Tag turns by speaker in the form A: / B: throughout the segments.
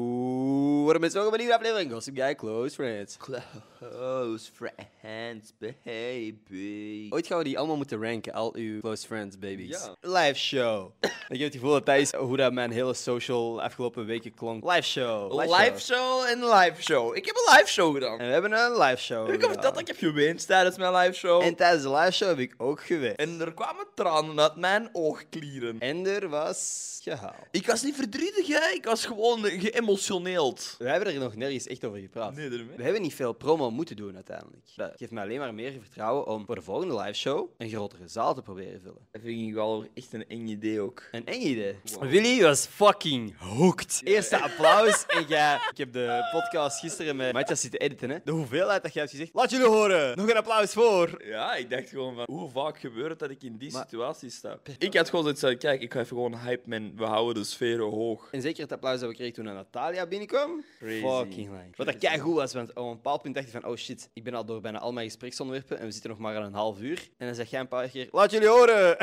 A: Oeh, wat een mensen welkom bij een nieuwe aflevering. Gossip Guy Close Friends.
B: Close friends, baby.
A: Ooit gaan we die allemaal moeten ranken, al uw close friends, babies.
B: Ja.
A: Live show. Ik heb het gevoel dat dat is hoe dat mijn hele social afgelopen weken klonk. Live show.
B: live show en live show. Ik heb een live show gedaan.
A: En we hebben een live show.
B: ik heb dat ik Oh. heb gewinst tijdens mijn live show.
A: En
B: En,
A: tijdens de live show heb ik ook geweest.
B: er kwamen tranen uit mijn oogklieren.
A: En er was gehaald.
B: Ik was niet verdrietig, hè. Ik was gewoon eh, geëmotioneeld.
A: We hebben er nog nergens echt over gepraat.
B: Nee, daarmee.
A: We hebben niet veel promo moeten doen uiteindelijk. Dat geeft me alleen maar meer vertrouwen om voor de volgende live show een grotere zaal te proberen vullen.
B: Dat vind ik wel echt een eng idee ook.
A: Een eng idee.
B: Wow.
A: Willy was fucking hooked. Eerste applaus en jij... Ik heb de podcast gisteren met Matthias zitten editen, hè. De hoeveelheid dat jij hebt gezegd. Laat jullie horen! Nog een applaus voor!
B: Ja, ik dacht gewoon van, hoe vaak gebeurt het dat ik in die
A: Maar-
B: situatie sta? Ik had gewoon zoiets van, kijk, ik ga even gewoon hype, man. We houden de sferen hoog.
A: En zeker het applaus dat we kregen toen Natalia binnenkwam.
B: Crazy.
A: Fucking lang. Wat dat
B: Crazy.
A: keigoed was, want op een bepaald punt dacht ik van... Oh shit, ik ben al door bijna al mijn gespreksonderwerpen en we zitten nog maar aan een half uur. En dan zeg jij een paar keer... Laat jullie horen!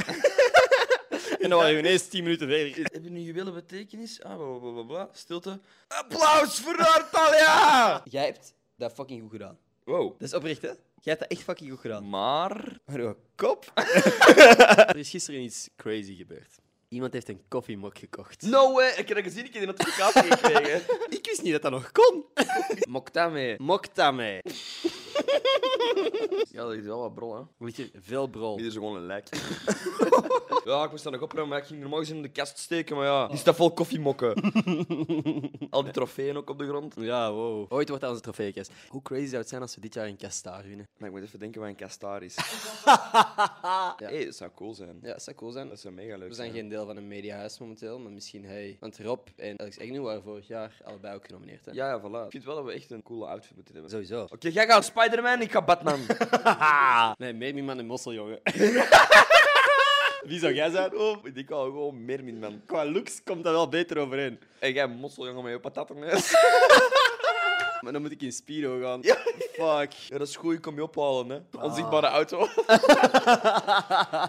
A: en dan waren we ineens tien minuten verder.
B: Hebben nu juwelen betekenis? Ah, bla bla bla bla. Stilte. Applaus voor Natalia!
A: Jij hebt dat fucking goed gedaan.
B: Wow.
A: Dat is oprecht, hè? Jij hebt dat echt fucking goed gedaan.
B: Maar.
A: Maar uw kop? er is gisteren iets crazy gebeurd. Iemand heeft een koffiemok gekocht.
B: No way! Ik heb dat gezien, ik heb die notificatie gekregen.
A: Ik wist niet dat dat nog kon.
B: Moktame.
A: Moktame.
B: Ja, dat is wel wat brol, hè?
A: Ligt hier veel brol.
B: Dit Oh. is gewoon een lek. ja, ik moest dat nog opruimen, maar ik ging normaal gezien in de kast steken, maar ja. Die staat vol koffiemokken. Al die trofeeën ook op de grond.
A: Ja, wow. Ooit wordt dat onze trofeekast. Hoe crazy zou het zijn als we dit jaar een kastaar winnen?
B: Maar ik moet even denken wat een kast daar is.
A: Ja.
B: hey, dat zou cool zijn.
A: Ja, dat zou cool zijn.
B: Dat zou mega leuk
A: We zijn geen deel van een mediahuis momenteel, maar misschien hij. Want Rob en Alex Agnew waren vorig jaar allebei ook genomineerd. Hè?
B: Ja, ja, voilà. Ik vind wel dat we echt een coole outfit moeten hebben.
A: sowieso.
B: Oké, jij gaat Spider-Man, ik ga Batman.
A: Ah, Nee, meer man en mossel, jongen. Wie zou jij zijn?
B: Oh, ik denk al gewoon meer min man.
A: Qua looks komt dat wel beter overeen.
B: En jij mosseljongen met je patattenneus.
A: Maar dan moet ik in Spiro gaan.
B: Ja.
A: Fuck.
B: Ja, dat is goed, ik kom je ophalen, hè. Onzichtbare auto.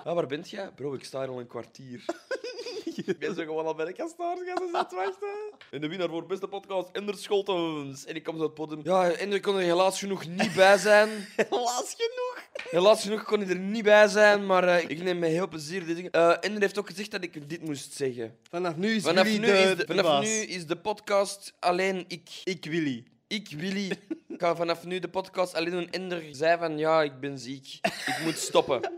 B: ja, waar bent jij? Bro, ik sta hier al een kwartier. Mensen zijn gewoon al bij de kastaars gaan ze zitten wachten. En de winnaar voor beste podcast, Ender Scholtens. En ik kom zo op het podium. Ja, Ender kon er helaas genoeg niet bij zijn.
A: Helaas genoeg.
B: Helaas genoeg kon hij er niet bij zijn, maar eh, ik neem met heel plezier dit ding. Eh, Ender heeft ook gezegd dat ik dit moest zeggen.
A: Vanaf nu is
B: Vanaf,
A: Willy
B: nu,
A: de,
B: is de,
A: de
B: vanaf
A: baas.
B: nu is de podcast alleen ik.
A: Ik Willy.
B: Ik, Willy, ga vanaf nu de podcast alleen doen. Ender zei van, ja, ik ben ziek. Ik moet stoppen.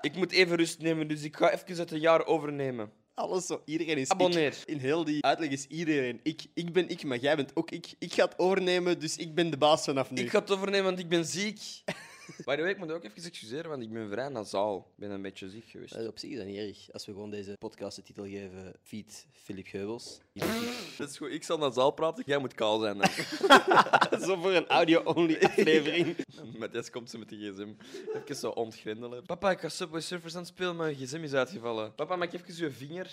B: Ik moet even rust nemen, dus ik ga even het een jaar overnemen.
A: Alles zo. Iedereen is
B: Abonneer.
A: ik. In heel die uitleg is iedereen ik. Ik ben ik, maar jij bent ook ik. Ik ga het overnemen, dus ik ben de baas vanaf nu.
B: Ik ga het overnemen, want ik ben ziek. By the way, ik moet ook even excuseren, want ik ben vrij nasaal. Ik ben een beetje ziek geweest.
A: Eh, op zich is dat niet erg. Als we gewoon deze podcast de titel geven, Feed Philip Geubels.
B: Dat is goed, ik zal nasaal praten, jij moet kaal zijn. dan.
A: zo voor een audio-only aflevering.
B: Matthias komt zo met de gsm. Even zo ontgrendelen. Papa, ik ga Subway Surfers aan het spelen, maar mijn gsm is uitgevallen. Papa, maak even je vinger.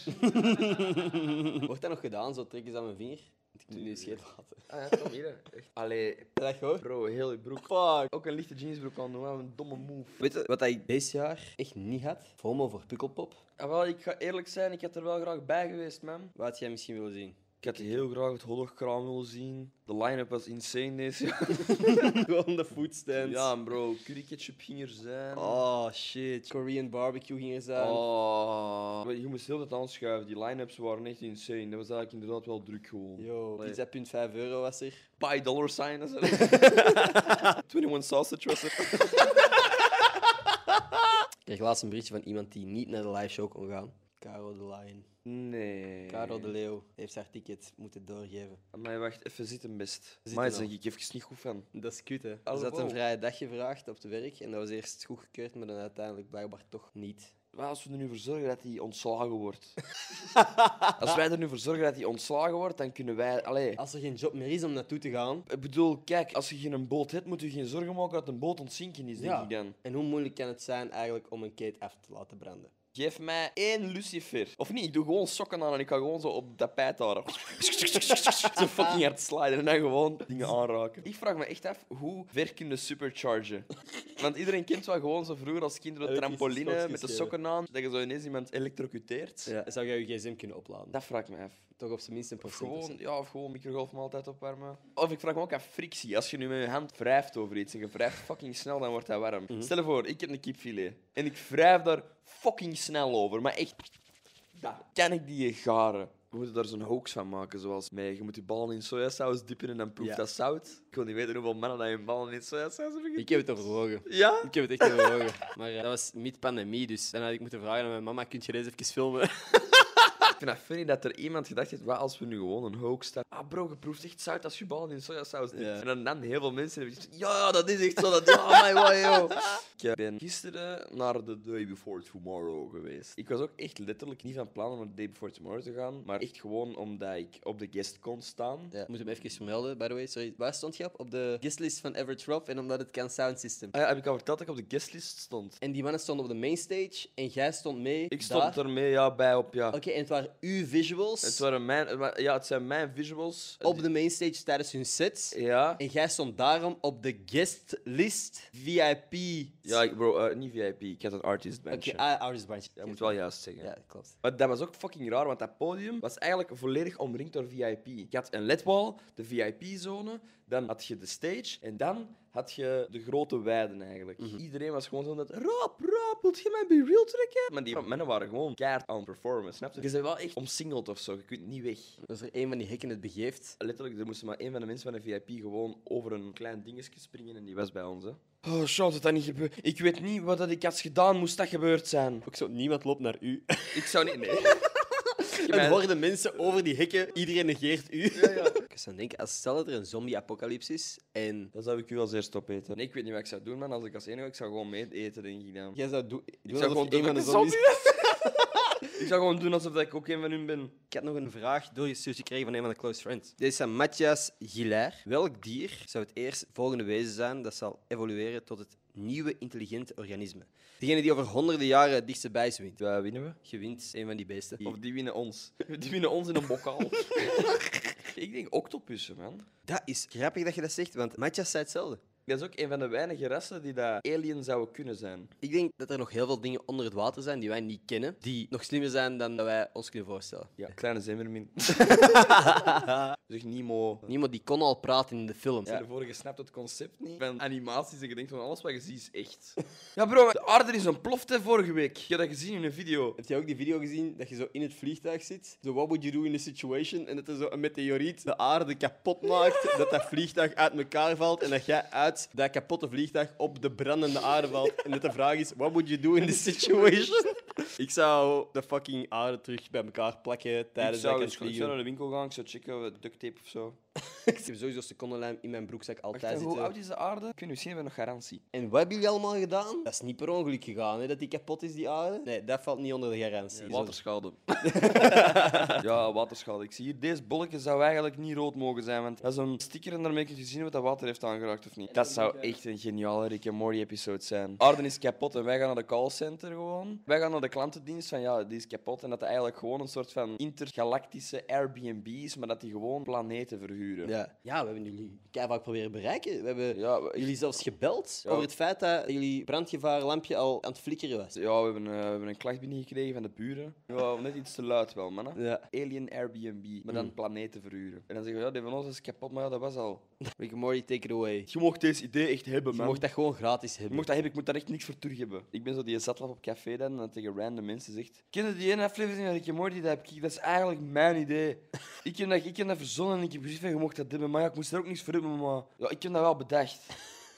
A: Wordt dat nog gedaan? Zo trek eens aan mijn vinger. Want ik moet nu scheet laten.
B: Ah ja, kom hier. hè. Echt. Allee,
A: Dat hoor.
B: bro, heel je broek.
A: Fuck.
B: Ook een lichte jeansbroek aan doen, wat een domme move.
A: Weet je wat ik dit jaar echt niet had? FOMO voor Pukkelpop.
B: Ah, wel, ik ga eerlijk zijn, ik had er wel graag bij geweest, man.
A: Wat had jij misschien willen zien?
B: Ik had heel graag het hologram willen zien. De line-up was insane deze jaar.
A: Gewoon de foodstands.
B: Ja, bro, curry ketchup ging er zijn.
A: Oh shit. Korean barbecue ging er zijn.
B: Oh. Maar Je moest heel dat aanschuiven, die line-ups waren echt insane. Dat was eigenlijk inderdaad wel druk gewoon.
A: Yo,
B: Allee.
A: pizza punt 5 euro was er.
B: By dollar sign is het. 21 sausage was het.
A: Ik kreeg laatst een berichtje van iemand die niet naar de live show kon gaan. Caro de Lion.
B: Nee.
A: Caro de Leeuw heeft haar ticket moeten doorgeven.
B: Maar wacht, even zitten best.
A: Zitten
B: Maar
A: wel.
B: daar zeg ik even niet goed van.
A: Dat is kut, hè?
B: Alhoewel.
A: Ze had een vrije dag gevraagd op het werk en dat was eerst goedgekeurd, maar dan uiteindelijk blijkbaar toch niet.
B: Wat als we er nu voor zorgen dat hij ontslagen wordt? als wij er nu voor zorgen dat hij ontslagen wordt, dan kunnen wij... Allee.
A: Als er geen job meer is om naartoe te gaan,
B: Ik bedoel, kijk, als je geen boot hebt, moet je geen zorgen maken dat een boot ontzinken is, denk
A: Ja.
B: ik dan.
A: en hoe moeilijk kan het zijn eigenlijk om een keet af te laten branden?
B: Geef mij één lucifer. Of niet, ik doe gewoon sokken aan en ik ga gewoon zo op het tapijt houden. zo fucking hard sliden en dan gewoon dingen aanraken. Ik vraag me echt af, hoe ver kunnen superchargen? Want iedereen kent wel gewoon zo vroeger als kinderen de
A: Elektrische
B: trampoline
A: schokjes
B: met de
A: geven.
B: sokken aan. Dat je zo ineens iemand elektrocuteert.
A: Zou jij je gsm kunnen opladen?
B: Dat vraag ik me af.
A: Toch op zijn minst een
B: Of
A: procent. of zo.
B: gewoon, ja, of gewoon microgolfmaaltijd opwarmen. Of ik vraag me ook aan frictie. Als je nu met je hand wrijft over iets en je wrijft fucking snel, dan wordt dat warm. Stel je voor, ik heb een kipfilet en ik wrijf daar fucking snel over. Maar echt, daar kan ik die garen. We moeten daar zo'n hoax van maken, zoals mee. je moet je ballen in sojasaus dippen en dan proeft
A: Ja.
B: dat zout. Ik wil niet weten hoeveel mannen dat hun ballen in sojasaus hebben
A: Ik heb het overwogen.
B: ge- Ja?
A: Ik heb het echt overwogen. Maar eh, dat was mid-pandemie, dus dan had ik moeten vragen aan mijn mama, kun je deze even filmen?
B: Ik vind dat funny dat er iemand gedacht heeft, wat als we nu gewoon een hoax staan. Ah bro, je proeft echt zout als je ballen in sojasaus dipt.
A: Ja.
B: En dan, dan heel veel mensen hebben gezegd, ja, dat is echt zo, dat ja, my way, yo. Ik eh, ben gisteren naar de Day Before Tomorrow geweest. Ik was ook echt letterlijk niet van plan om naar de Day Before Tomorrow te gaan, maar echt gewoon omdat ik op de guest kon staan.
A: Ja. Ik moet hem even vermelden, by the way. Sorry. Waar stond je op? Op de guestlist van Everett Rob en omdat het kan Sound System.
B: Ah ja, heb ik al verteld dat ik op de guestlist stond?
A: En die mannen stonden op de mainstage en jij stond mee.
B: Ik stond
A: daar. Oh,
B: er mee, ja, bij op, ja.
A: Oké, en het waren uw visuals
B: Het, waren mijn, het wa- ja, het zijn mijn visuals.
A: op de mainstage tijdens hun sets.
B: Ja.
A: En jij stond daarom op de guestlist VIP.
B: Ja, ik- bro, eh, niet VIP, ik had een artist
A: Oké,
B: bandje.
A: ah, Artist Branch.
B: Dat moet wel juist zeggen.
A: Ja, klopt.
B: Maar dat was ook fucking raar, want dat podium was eigenlijk volledig omringd door VIP. Je had een ledwall, de VIP-zone, dan had je de stage en dan had je de grote weiden eigenlijk. Iedereen was gewoon zo dat, Rob, Rob, wilt je mij bij real trekken? Maar die mannen waren gewoon keihard aan het performen, snap je? Je bent wel echt omsingeld of zo, je kunt niet weg.
A: Als er een van die hekken het begeeft.
B: Letterlijk, er moest maar één van de mensen van de VIP gewoon over een klein dingetje springen en die was bij ons, hè. Oh, shit, dat dat niet gebeurd. Ik weet niet wat dat ik had gedaan, moest dat gebeurd zijn.
A: Ook zo, niemand loopt naar u.
B: Ik zou niet... Nee.
A: En worden mensen over die hekken, iedereen negeert u.
B: Ja, ja.
A: Ik was aan het denken, als stel dat er een zombie-apocalyps is en
B: Dan zou ik u als eerst opeten. Nee, ik weet niet wat ik zou doen, man. Als ik als enige, ik zou gewoon mee eten, denk ik dan.
A: Jij zou doen. Ik
B: zou gewoon doen
A: een van de
B: dat ik
A: zombies.
B: Ik zou gewoon doen alsof dat ik ook een van hun ben.
A: Ik had nog een vraag doorgestuurd gekregen van een van de close friends. Deze is aan Matthias Gilair. Welk dier zou het eerst volgende wezen zijn dat zal evolueren tot het nieuwe intelligente organisme? Degene die over honderden jaren het dichtst bij is, wint.
B: Ja, winnen we?
A: Je wint een van die beesten.
B: Of die winnen ons. Die winnen ons in een bokaal. ik denk octopussen, man.
A: Dat is grappig dat je dat zegt, want Matthias zei hetzelfde.
B: Dat is ook een van de weinige rassen die dat alien zouden kunnen zijn.
A: Ik denk dat er nog heel veel dingen onder het water zijn die wij niet kennen, die nog slimmer zijn dan dat wij ons kunnen voorstellen.
B: Ja, kleine zemermin. zeg Nemo.
A: Niemand die kon al praten in de film.
B: Stel je voor, je snapt het concept niet van animaties en je denkt van alles wat je ziet is echt. Ja bro, de aarde is ontploft hè, vorige week. Je hebt dat gezien in een video.
A: Heb jij ook die video gezien dat je zo in het vliegtuig zit? Zo, what would you do in this situation? En dat er zo een meteoriet de aarde kapot maakt, dat dat vliegtuig uit elkaar valt en dat jij uit dat kapotte vliegtuig op de brandende aarde valt. En dat de vraag is, what would you do in this situation? Ik zou de fucking aarde terug bij elkaar plakken
B: Ik
A: tijdens dat
B: zou,
A: ik
B: eens-
A: aan het
B: ik zou
A: vliegen
B: naar de winkel gaan, ik zou checken, wat duct tape of zo. eh,
A: ben. Ik heb sowieso secondenlijm in mijn broekzak
B: Wacht,
A: altijd
B: hè, hoe oud
A: zitten.
B: is de aarde? Kunnen we misschien hebben we nog garantie.
A: En wat hebben jullie allemaal gedaan? Dat is niet per ongeluk gegaan, hè, dat die kapot is, die aarde. Nee, dat valt niet onder de garantie. Zo-
B: Waterschade. ja, waterschade. Ik zie hier, deze bolletje zou eigenlijk niet rood mogen zijn, want dat is een sticker en daarmee kun je zien wat dat water heeft aangeraakt of niet. Dat zou echt een geniale Rick en Morty episode zijn. Arden is kapot en wij gaan naar de callcenter gewoon. Wij gaan naar de klantendienst van ja, die is kapot en dat het eigenlijk gewoon een soort van intergalactische Airbnb is, maar dat die gewoon planeten verhuren.
A: Ja. ja, we hebben jullie keihard proberen bereiken. We hebben
B: Ja, we-
A: jullie zelfs gebeld
B: Ja.
A: over het feit dat jullie brandgevaarlampje al aan het flikkeren was.
B: Ja, we hebben, eh, we hebben een klacht binnengekregen van de buren. Ja, net iets te luid wel, man.
A: Ja.
B: Alien Airbnb, maar dan planeten verhuren. En dan zeggen we, ja, die van ons is kapot, maar ja, dat was al.
A: Rick and Morty, take it away.
B: Je mocht deze idee echt hebben,
A: Je
B: man.
A: mocht dat gewoon gratis
B: Je
A: hebben.
B: mocht dat hebben, ik moet daar echt niks voor terug hebben. Ik ben zo die zatlap op café dan, en dat tegen random mensen zegt... Ken je die ene aflevering van Rick en Morty? Dat, heb ik, dat is eigenlijk mijn idee. ik, heb dat, ik heb dat verzonnen en ik heb gezegd van, je mocht dat hebben. Maar ja, ik moest daar ook niks voor hebben, maar... Ja, ik heb dat wel bedacht.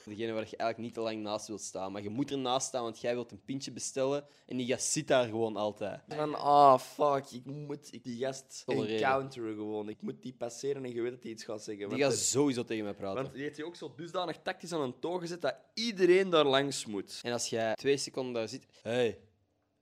A: Degene waar je eigenlijk niet te lang naast wilt staan. Maar je moet ernaast staan, want jij wilt een pintje bestellen. En die gast zit daar gewoon altijd.
B: Van, ah, fuck, ik moet ik die gast
A: Tolereren.
B: encounteren gewoon. Ik moet die passeren en je weet dat hij iets gaat zeggen.
A: Die
B: want-
A: gaat sowieso tegen mij praten.
B: Want die heeft je ook zo dusdanig tactisch aan een toog gezet dat iedereen daar langs moet.
A: En als jij twee seconden daar zit... Hey.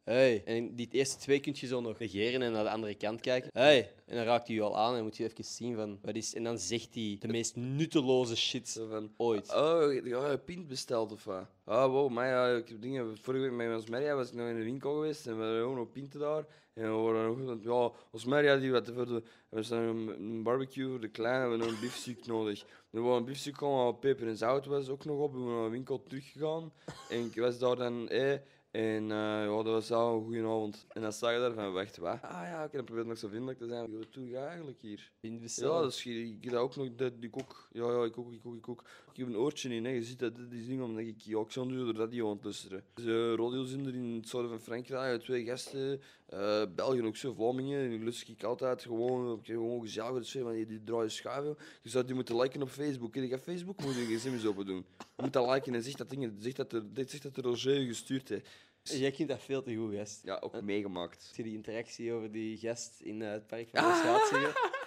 A: Hey. En die eerste twee kun je zo nog negeren en naar de andere kant kijken. Hey. En dan raakt hij je al aan en moet je even zien van... Wat is... En dan zegt hij de meest nutteloze shit
B: Zo van,
A: ooit.
B: oh, je ja, je pint besteld of wat? Ah, wow, maar ja, ik heb dingen... Vorige week met ons Maria was ik nog in de winkel geweest en we hadden ook nog pinten daar. En we waren ook... Want, ja, ons Maria, die wat voor de... We staan een, een barbecue voor de kleine, we hebben een biefstuk nodig. Er was een biefstuk gewoon wat peper en zout was ook nog op. Ik ben naar de winkel teruggegaan en ik was daar dan... eh En eh, ja, dat was al een goede avond. En dan zag je daar van, wacht, wat? Ah ja, oké, dan probeer ik nog zo vriendelijk te zijn. Wat doe je eigenlijk hier?
A: In de cel.
B: Ja, dus dat is, ik dat ook nog, dat, ik ook. Ja, ja, ik ook, ik ook, ik ook. Ik heb een oortje in, hè. je ziet dat, dit is ding, omdat ik ja, ik zou nu de radio aan het luisteren. Dus uh, radiozender in het zuiden van Frankrijk, twee gasten, eh België ook zo, Vlamingen, en die luister ik altijd gewoon, gewoon gezellig, dus, maar die, die draaien schuiven. Je zou die moeten liken op Facebook, hè. ik ga Facebook moet je gsm eens open doen. Je moet dat liken en zegt dat ding, zegt dat er, dit zegt dat er Roger je gestuurd heeft. Eh.
A: Jij kunt dat veel te goed, gast.
B: Ja, ook meegemaakt.
A: Zie je die interactie over die gast in eh, het park van
B: Ah.
A: de schaatsen?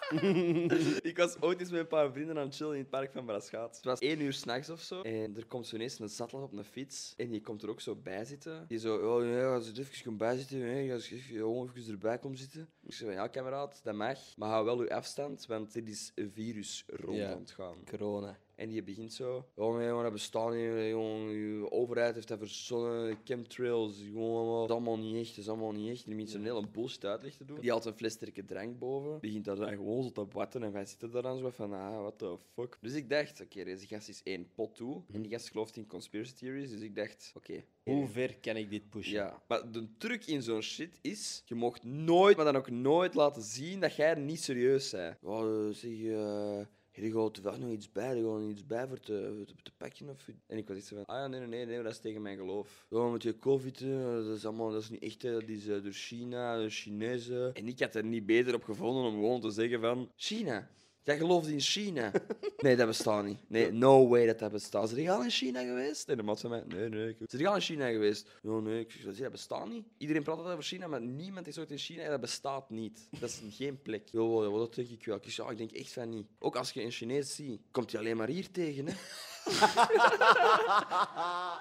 B: ik was ooit eens met een paar vrienden aan het chillen in het park van Braschaat. Het was één uur s'nachts of zo. En er komt zo ineens een sattel op een fiets. En die komt er ook zo bij zitten. Die zo, oh ja, als je er even komt bijzitten, hè, als je gewoon even erbij komt zitten. Ik zei van, ja, kameraad, dat mag. Maar hou wel uw afstand, want er is een virus rond
A: Ja.
B: aan het gaan.
A: Corona.
B: En die begint zo. Jongen, jongen, dat bestaat niet. Jongen, je overheid heeft dat verzonnen. Chemtrails, jongen, allemaal. Dat is allemaal niet echt. Dat is allemaal niet echt. Die begint zo'n hele bullshit uitleg te doen. Die haalt een fles sterke drank boven. Begint daar dan gewoon zo te watten. En wij zitten daar dan zo van, ah, what the fuck. Dus ik dacht, oké, deze gast is één pot toe. En die gast gelooft in conspiracy theories. Dus ik dacht, oké.
A: Hoe ver kan ik dit pushen?
B: Ja, maar de truc in zo'n shit is, je mocht nooit, maar dan ook nooit laten zien dat jij niet serieus bent. Ja, eh, zeg, eh hier gaat wel nog iets bij, er gaat nog iets bij voor te, te, te pakken of... En ik was echt zo van, ah ja, nee, nee, nee, nee, dat is tegen mijn geloof. Ja, met je covid, eh, dat is allemaal, dat is niet echt, hè, dat is eh, door China, door Chinezen. En ik had er niet beter op gevonden om gewoon te zeggen van, China. Jij gelooft in China. Nee, dat bestaat niet. Nee, no way dat dat bestaat. Zijn jullie al in China geweest? En de man zei mij, nee, nee. Ik... Zijn jullie al in China geweest? No, nee, ik zeg, dat bestaat niet. Iedereen praat altijd over China, maar niemand is ooit in China en dat bestaat niet. Dat is geen plek. Jo, ja, dat denk ik wel. Ik zeg, ja, ik denk echt van niet. Ook als je een Chinees ziet, komt hij alleen maar hier tegen, hè.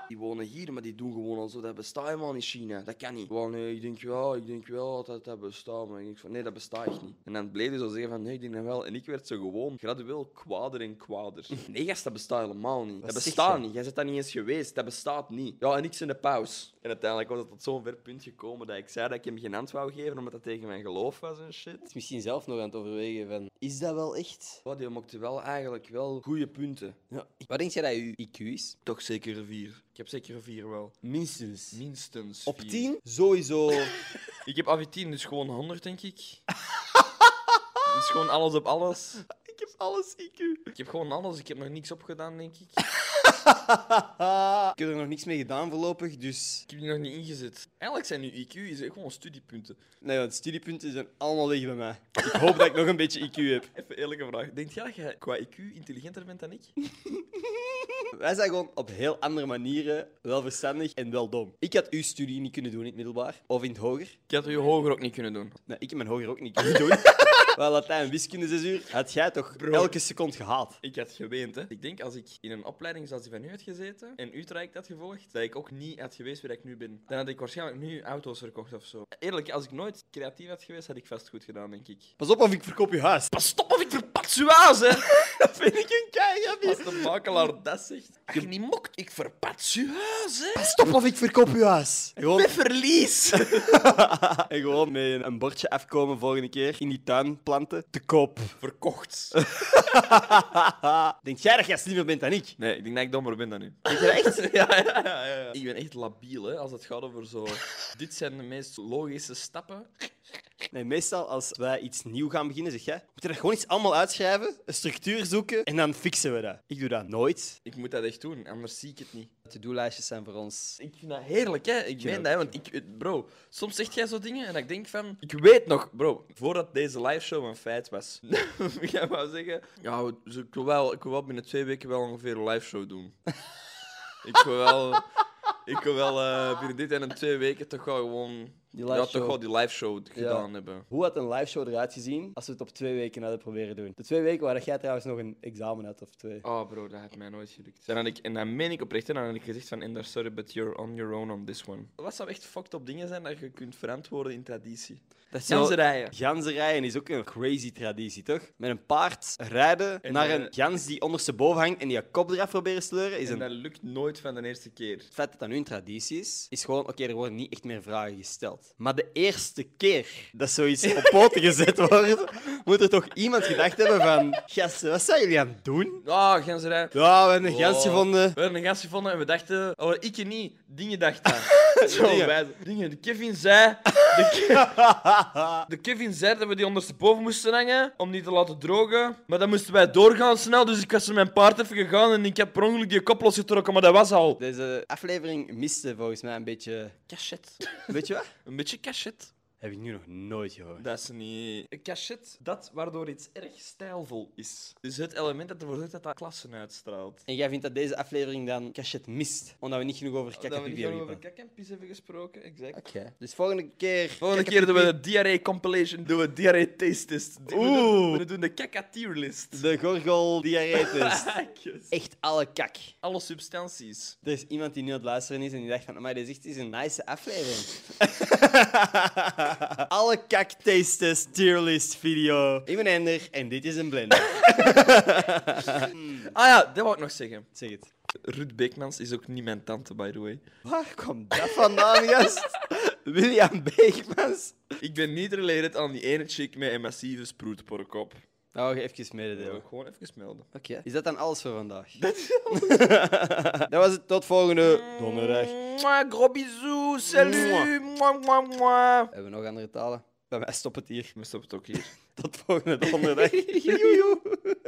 B: Die wonen hier, maar die doen gewoon al zo. Dat bestaat helemaal in China. Dat kan niet. Gewoon, nee, ik denk wel, ik denk wel dat dat bestaat. Maar ik denk van, nee, dat bestaat echt niet. En dan bleef hij zo zeggen van, nee, ik denk dat wel. En ik werd zo gewoon gradueel kwaader en kwaader. Nee, gast, dat bestaat helemaal niet.
A: Wat
B: Dat
A: zeg
B: bestaat
A: je?
B: niet. Jij bent daar niet eens geweest. Dat bestaat niet. Ja, en ik in de pauze. En uiteindelijk was het tot zo'n ver punt gekomen dat ik zei dat ik hem geen antwoord wou geven, omdat dat tegen mijn geloof was en shit.
A: is misschien zelf nog aan het overwegen van, is dat wel echt?
B: Wat, die mocht wel eigenlijk wel goede punten.
A: Ja. Wat denk jij dat je IQ is?
B: Toch zeker een vier. Ik heb zeker een vier wel.
A: Minstens.
B: Minstens
A: Op
B: vier.
A: 10? Sowieso.
B: Ik heb AV10, dus gewoon 100, denk ik. dus gewoon alles op alles.
A: ik heb alles IQ.
B: Ik heb gewoon alles, ik heb nog niks opgedaan, denk ik.
A: Ik heb er nog niks mee gedaan voorlopig, dus...
B: Ik heb die nog niet ingezet. Eigenlijk zijn nu IQ is echt gewoon studiepunten.
A: Nee, want nou studiepunten zijn allemaal weg bij mij. Ik hoop dat ik nog een beetje IQ heb.
B: Even eerlijke vraag. Denk jij dat jij qua IQ intelligenter bent dan ik?
A: Wij zijn gewoon op heel andere manieren wel verstandig en wel dom. Ik had uw studie niet kunnen doen in het middelbaar. Of in het hoger.
B: Ik had je hoger ook niet kunnen doen.
A: Nee, ik heb mijn hoger ook niet kunnen doen. Wel, Latijn wiskunde 6 uur had jij toch
B: Bro.
A: elke seconde gehaald.
B: Ik had geweend, hè. Ik denk als ik in een opleiding zoals die van u had gezeten en Utrecht had gevolgd, dat ik ook niet had geweest waar ik nu ben. Dan had ik waarschijnlijk nu auto's verkocht of zo. Eerlijk, als ik nooit creatief had geweest, had ik vast goed gedaan, denk ik.
A: Pas op of ik verkoop je huis.
B: Pas op of ik verpats uw huis, hè.
A: Dat vind ik een
B: Als
A: keigabies.
B: de makelaar dat zegt. Als je niet mokt, ik verpats uw huis, hè.
A: Stop of ik verkoop je huis. En gewoon,
B: Met verlies.
A: en gewoon met een- een bordje afkomen volgende keer in die tuin planten. Te koop.
B: Verkocht.
A: Denk jij dat jij slimmer bent dan ik?
B: Nee, ik denk dat ik dommer ben dan nu.
A: Denk je dat echt?
B: Ja, ja, ja, ja. Ik ben echt labiel, hè, als het gaat over zo... Dit zijn de meest logische stappen.
A: Nee, meestal als wij iets nieuw gaan beginnen, zeg jij, moeten we dat gewoon iets allemaal uitschrijven, een structuur zoeken en dan fixen we dat. Ik doe dat nooit.
B: Ik moet dat echt doen, anders zie ik het niet.
A: To-do-lijstjes zijn voor ons.
B: Ik vind dat heerlijk, hè. Ik
A: Ja,
B: meen dat, hè, want ik... eh, Bro, soms zeg jij zo dingen en ik denk van... Ik weet nog, bro, voordat deze liveshow een feit was... ik ga maar zeggen... Ja, we- zo- ik wil, wel, ik wil wel binnen twee weken wel ongeveer een liveshow doen. ik wil wel... Ik wil wel eh, binnen dit en een twee weken toch wel gewoon...
A: Die
B: ja, toch
A: liveshow.
B: wel die liveshow gedaan hebben.
A: Hoe had een liveshow eruit gezien als we het op twee weken hadden proberen doen? De twee weken waar jij trouwens nog een examen had of twee.
B: Oh bro, dat heeft mij nooit gelukt. Dan had ik, en dan meen ik oprecht, hè, dan had ik gezegd van Ender, sorry, but you're on your own on this one. Wat zou echt fucked up dingen zijn dat je kunt verantwoorden in traditie?
A: Dat is
B: Ganzenrijen.
A: Ganzenrijden is ook een crazy traditie, toch? Met een paard rijden
B: En,
A: naar
B: eh,
A: een gans die ondersteboven hangt en die je kop eraf proberen sleuren. Is
B: En
A: een...
B: dat lukt nooit van de eerste keer.
A: Het feit dat dat nu een traditie is, is gewoon: oké, er worden niet echt meer vragen gesteld. Maar de eerste keer dat zoiets op poten gezet wordt, moet er toch iemand gedacht hebben: van gasten, wat zijn jullie aan het doen?
B: Ah, ganserij.
A: Ja, we hebben een gans gevonden.
B: We hebben een gans gevonden en we dachten, oh, ik niet, dingen dacht dat.
A: Zo.
B: Dingen, dingen. De Kevin zei. De, Ke- de Kevin zei dat we die ondersteboven moesten hangen. Om niet te laten drogen. Maar dan moesten wij doorgaan snel. Dus ik was met mijn paard even gegaan. En ik heb per ongeluk die kop losgetrokken. Maar dat was al.
A: Deze aflevering miste volgens mij een beetje.
B: Cachet.
A: Weet je wat?
B: Een beetje cachet.
A: Heb ik nu nog nooit gehoord.
B: Dat is niet. Een cachet, dat waardoor iets erg stijlvol is. Dus het element dat ervoor zorgt dat dat klassen uitstraalt.
A: En jij vindt dat deze aflevering dan cachet mist, omdat we niet genoeg over
B: dat we
A: kakkerpipi
B: niet
A: hebben
B: gewoon over
A: gepraat.
B: kak en pis hebben gesproken, exact.
A: Oké. Dus volgende keer...
B: Volgende keer doen we de diarree compilation, doen we diarree taste test. We doen-
A: Oeh.
B: We doen de kaka tier list.
A: De gorgel diarreetus.
B: Kakjes.
A: Echt alle kak.
B: Alle substanties.
A: Er is iemand die nu aan het luisteren is en die dacht van, maar dit is echt eens een nice aflevering. alle kak taste test tier list video. Ik ben Ender en dit is een blender.
B: Ah ja, dat wou ik nog zeggen.
A: zeg het.
B: Ruud Beekmans is ook niet mijn tante, by the way.
A: Waar komt dat vandaan, gast? William Beekmans?
B: Ik ben niet related aan die ene chick met een massieve sproetporkop.
A: Nou, even
B: Dat wil
A: mededelen.
B: ik gewoon even melden.
A: Oké. Is dat dan alles voor vandaag? Dat was het. Tot volgende donderdag.
B: Mwah, gros bisous, salut, mwah, mwah, mwah.
A: Hebben we nog andere talen? Bij mij stopt het hier.
B: We stoppen het ook hier.
A: Tot volgende donderdag. Joejoe.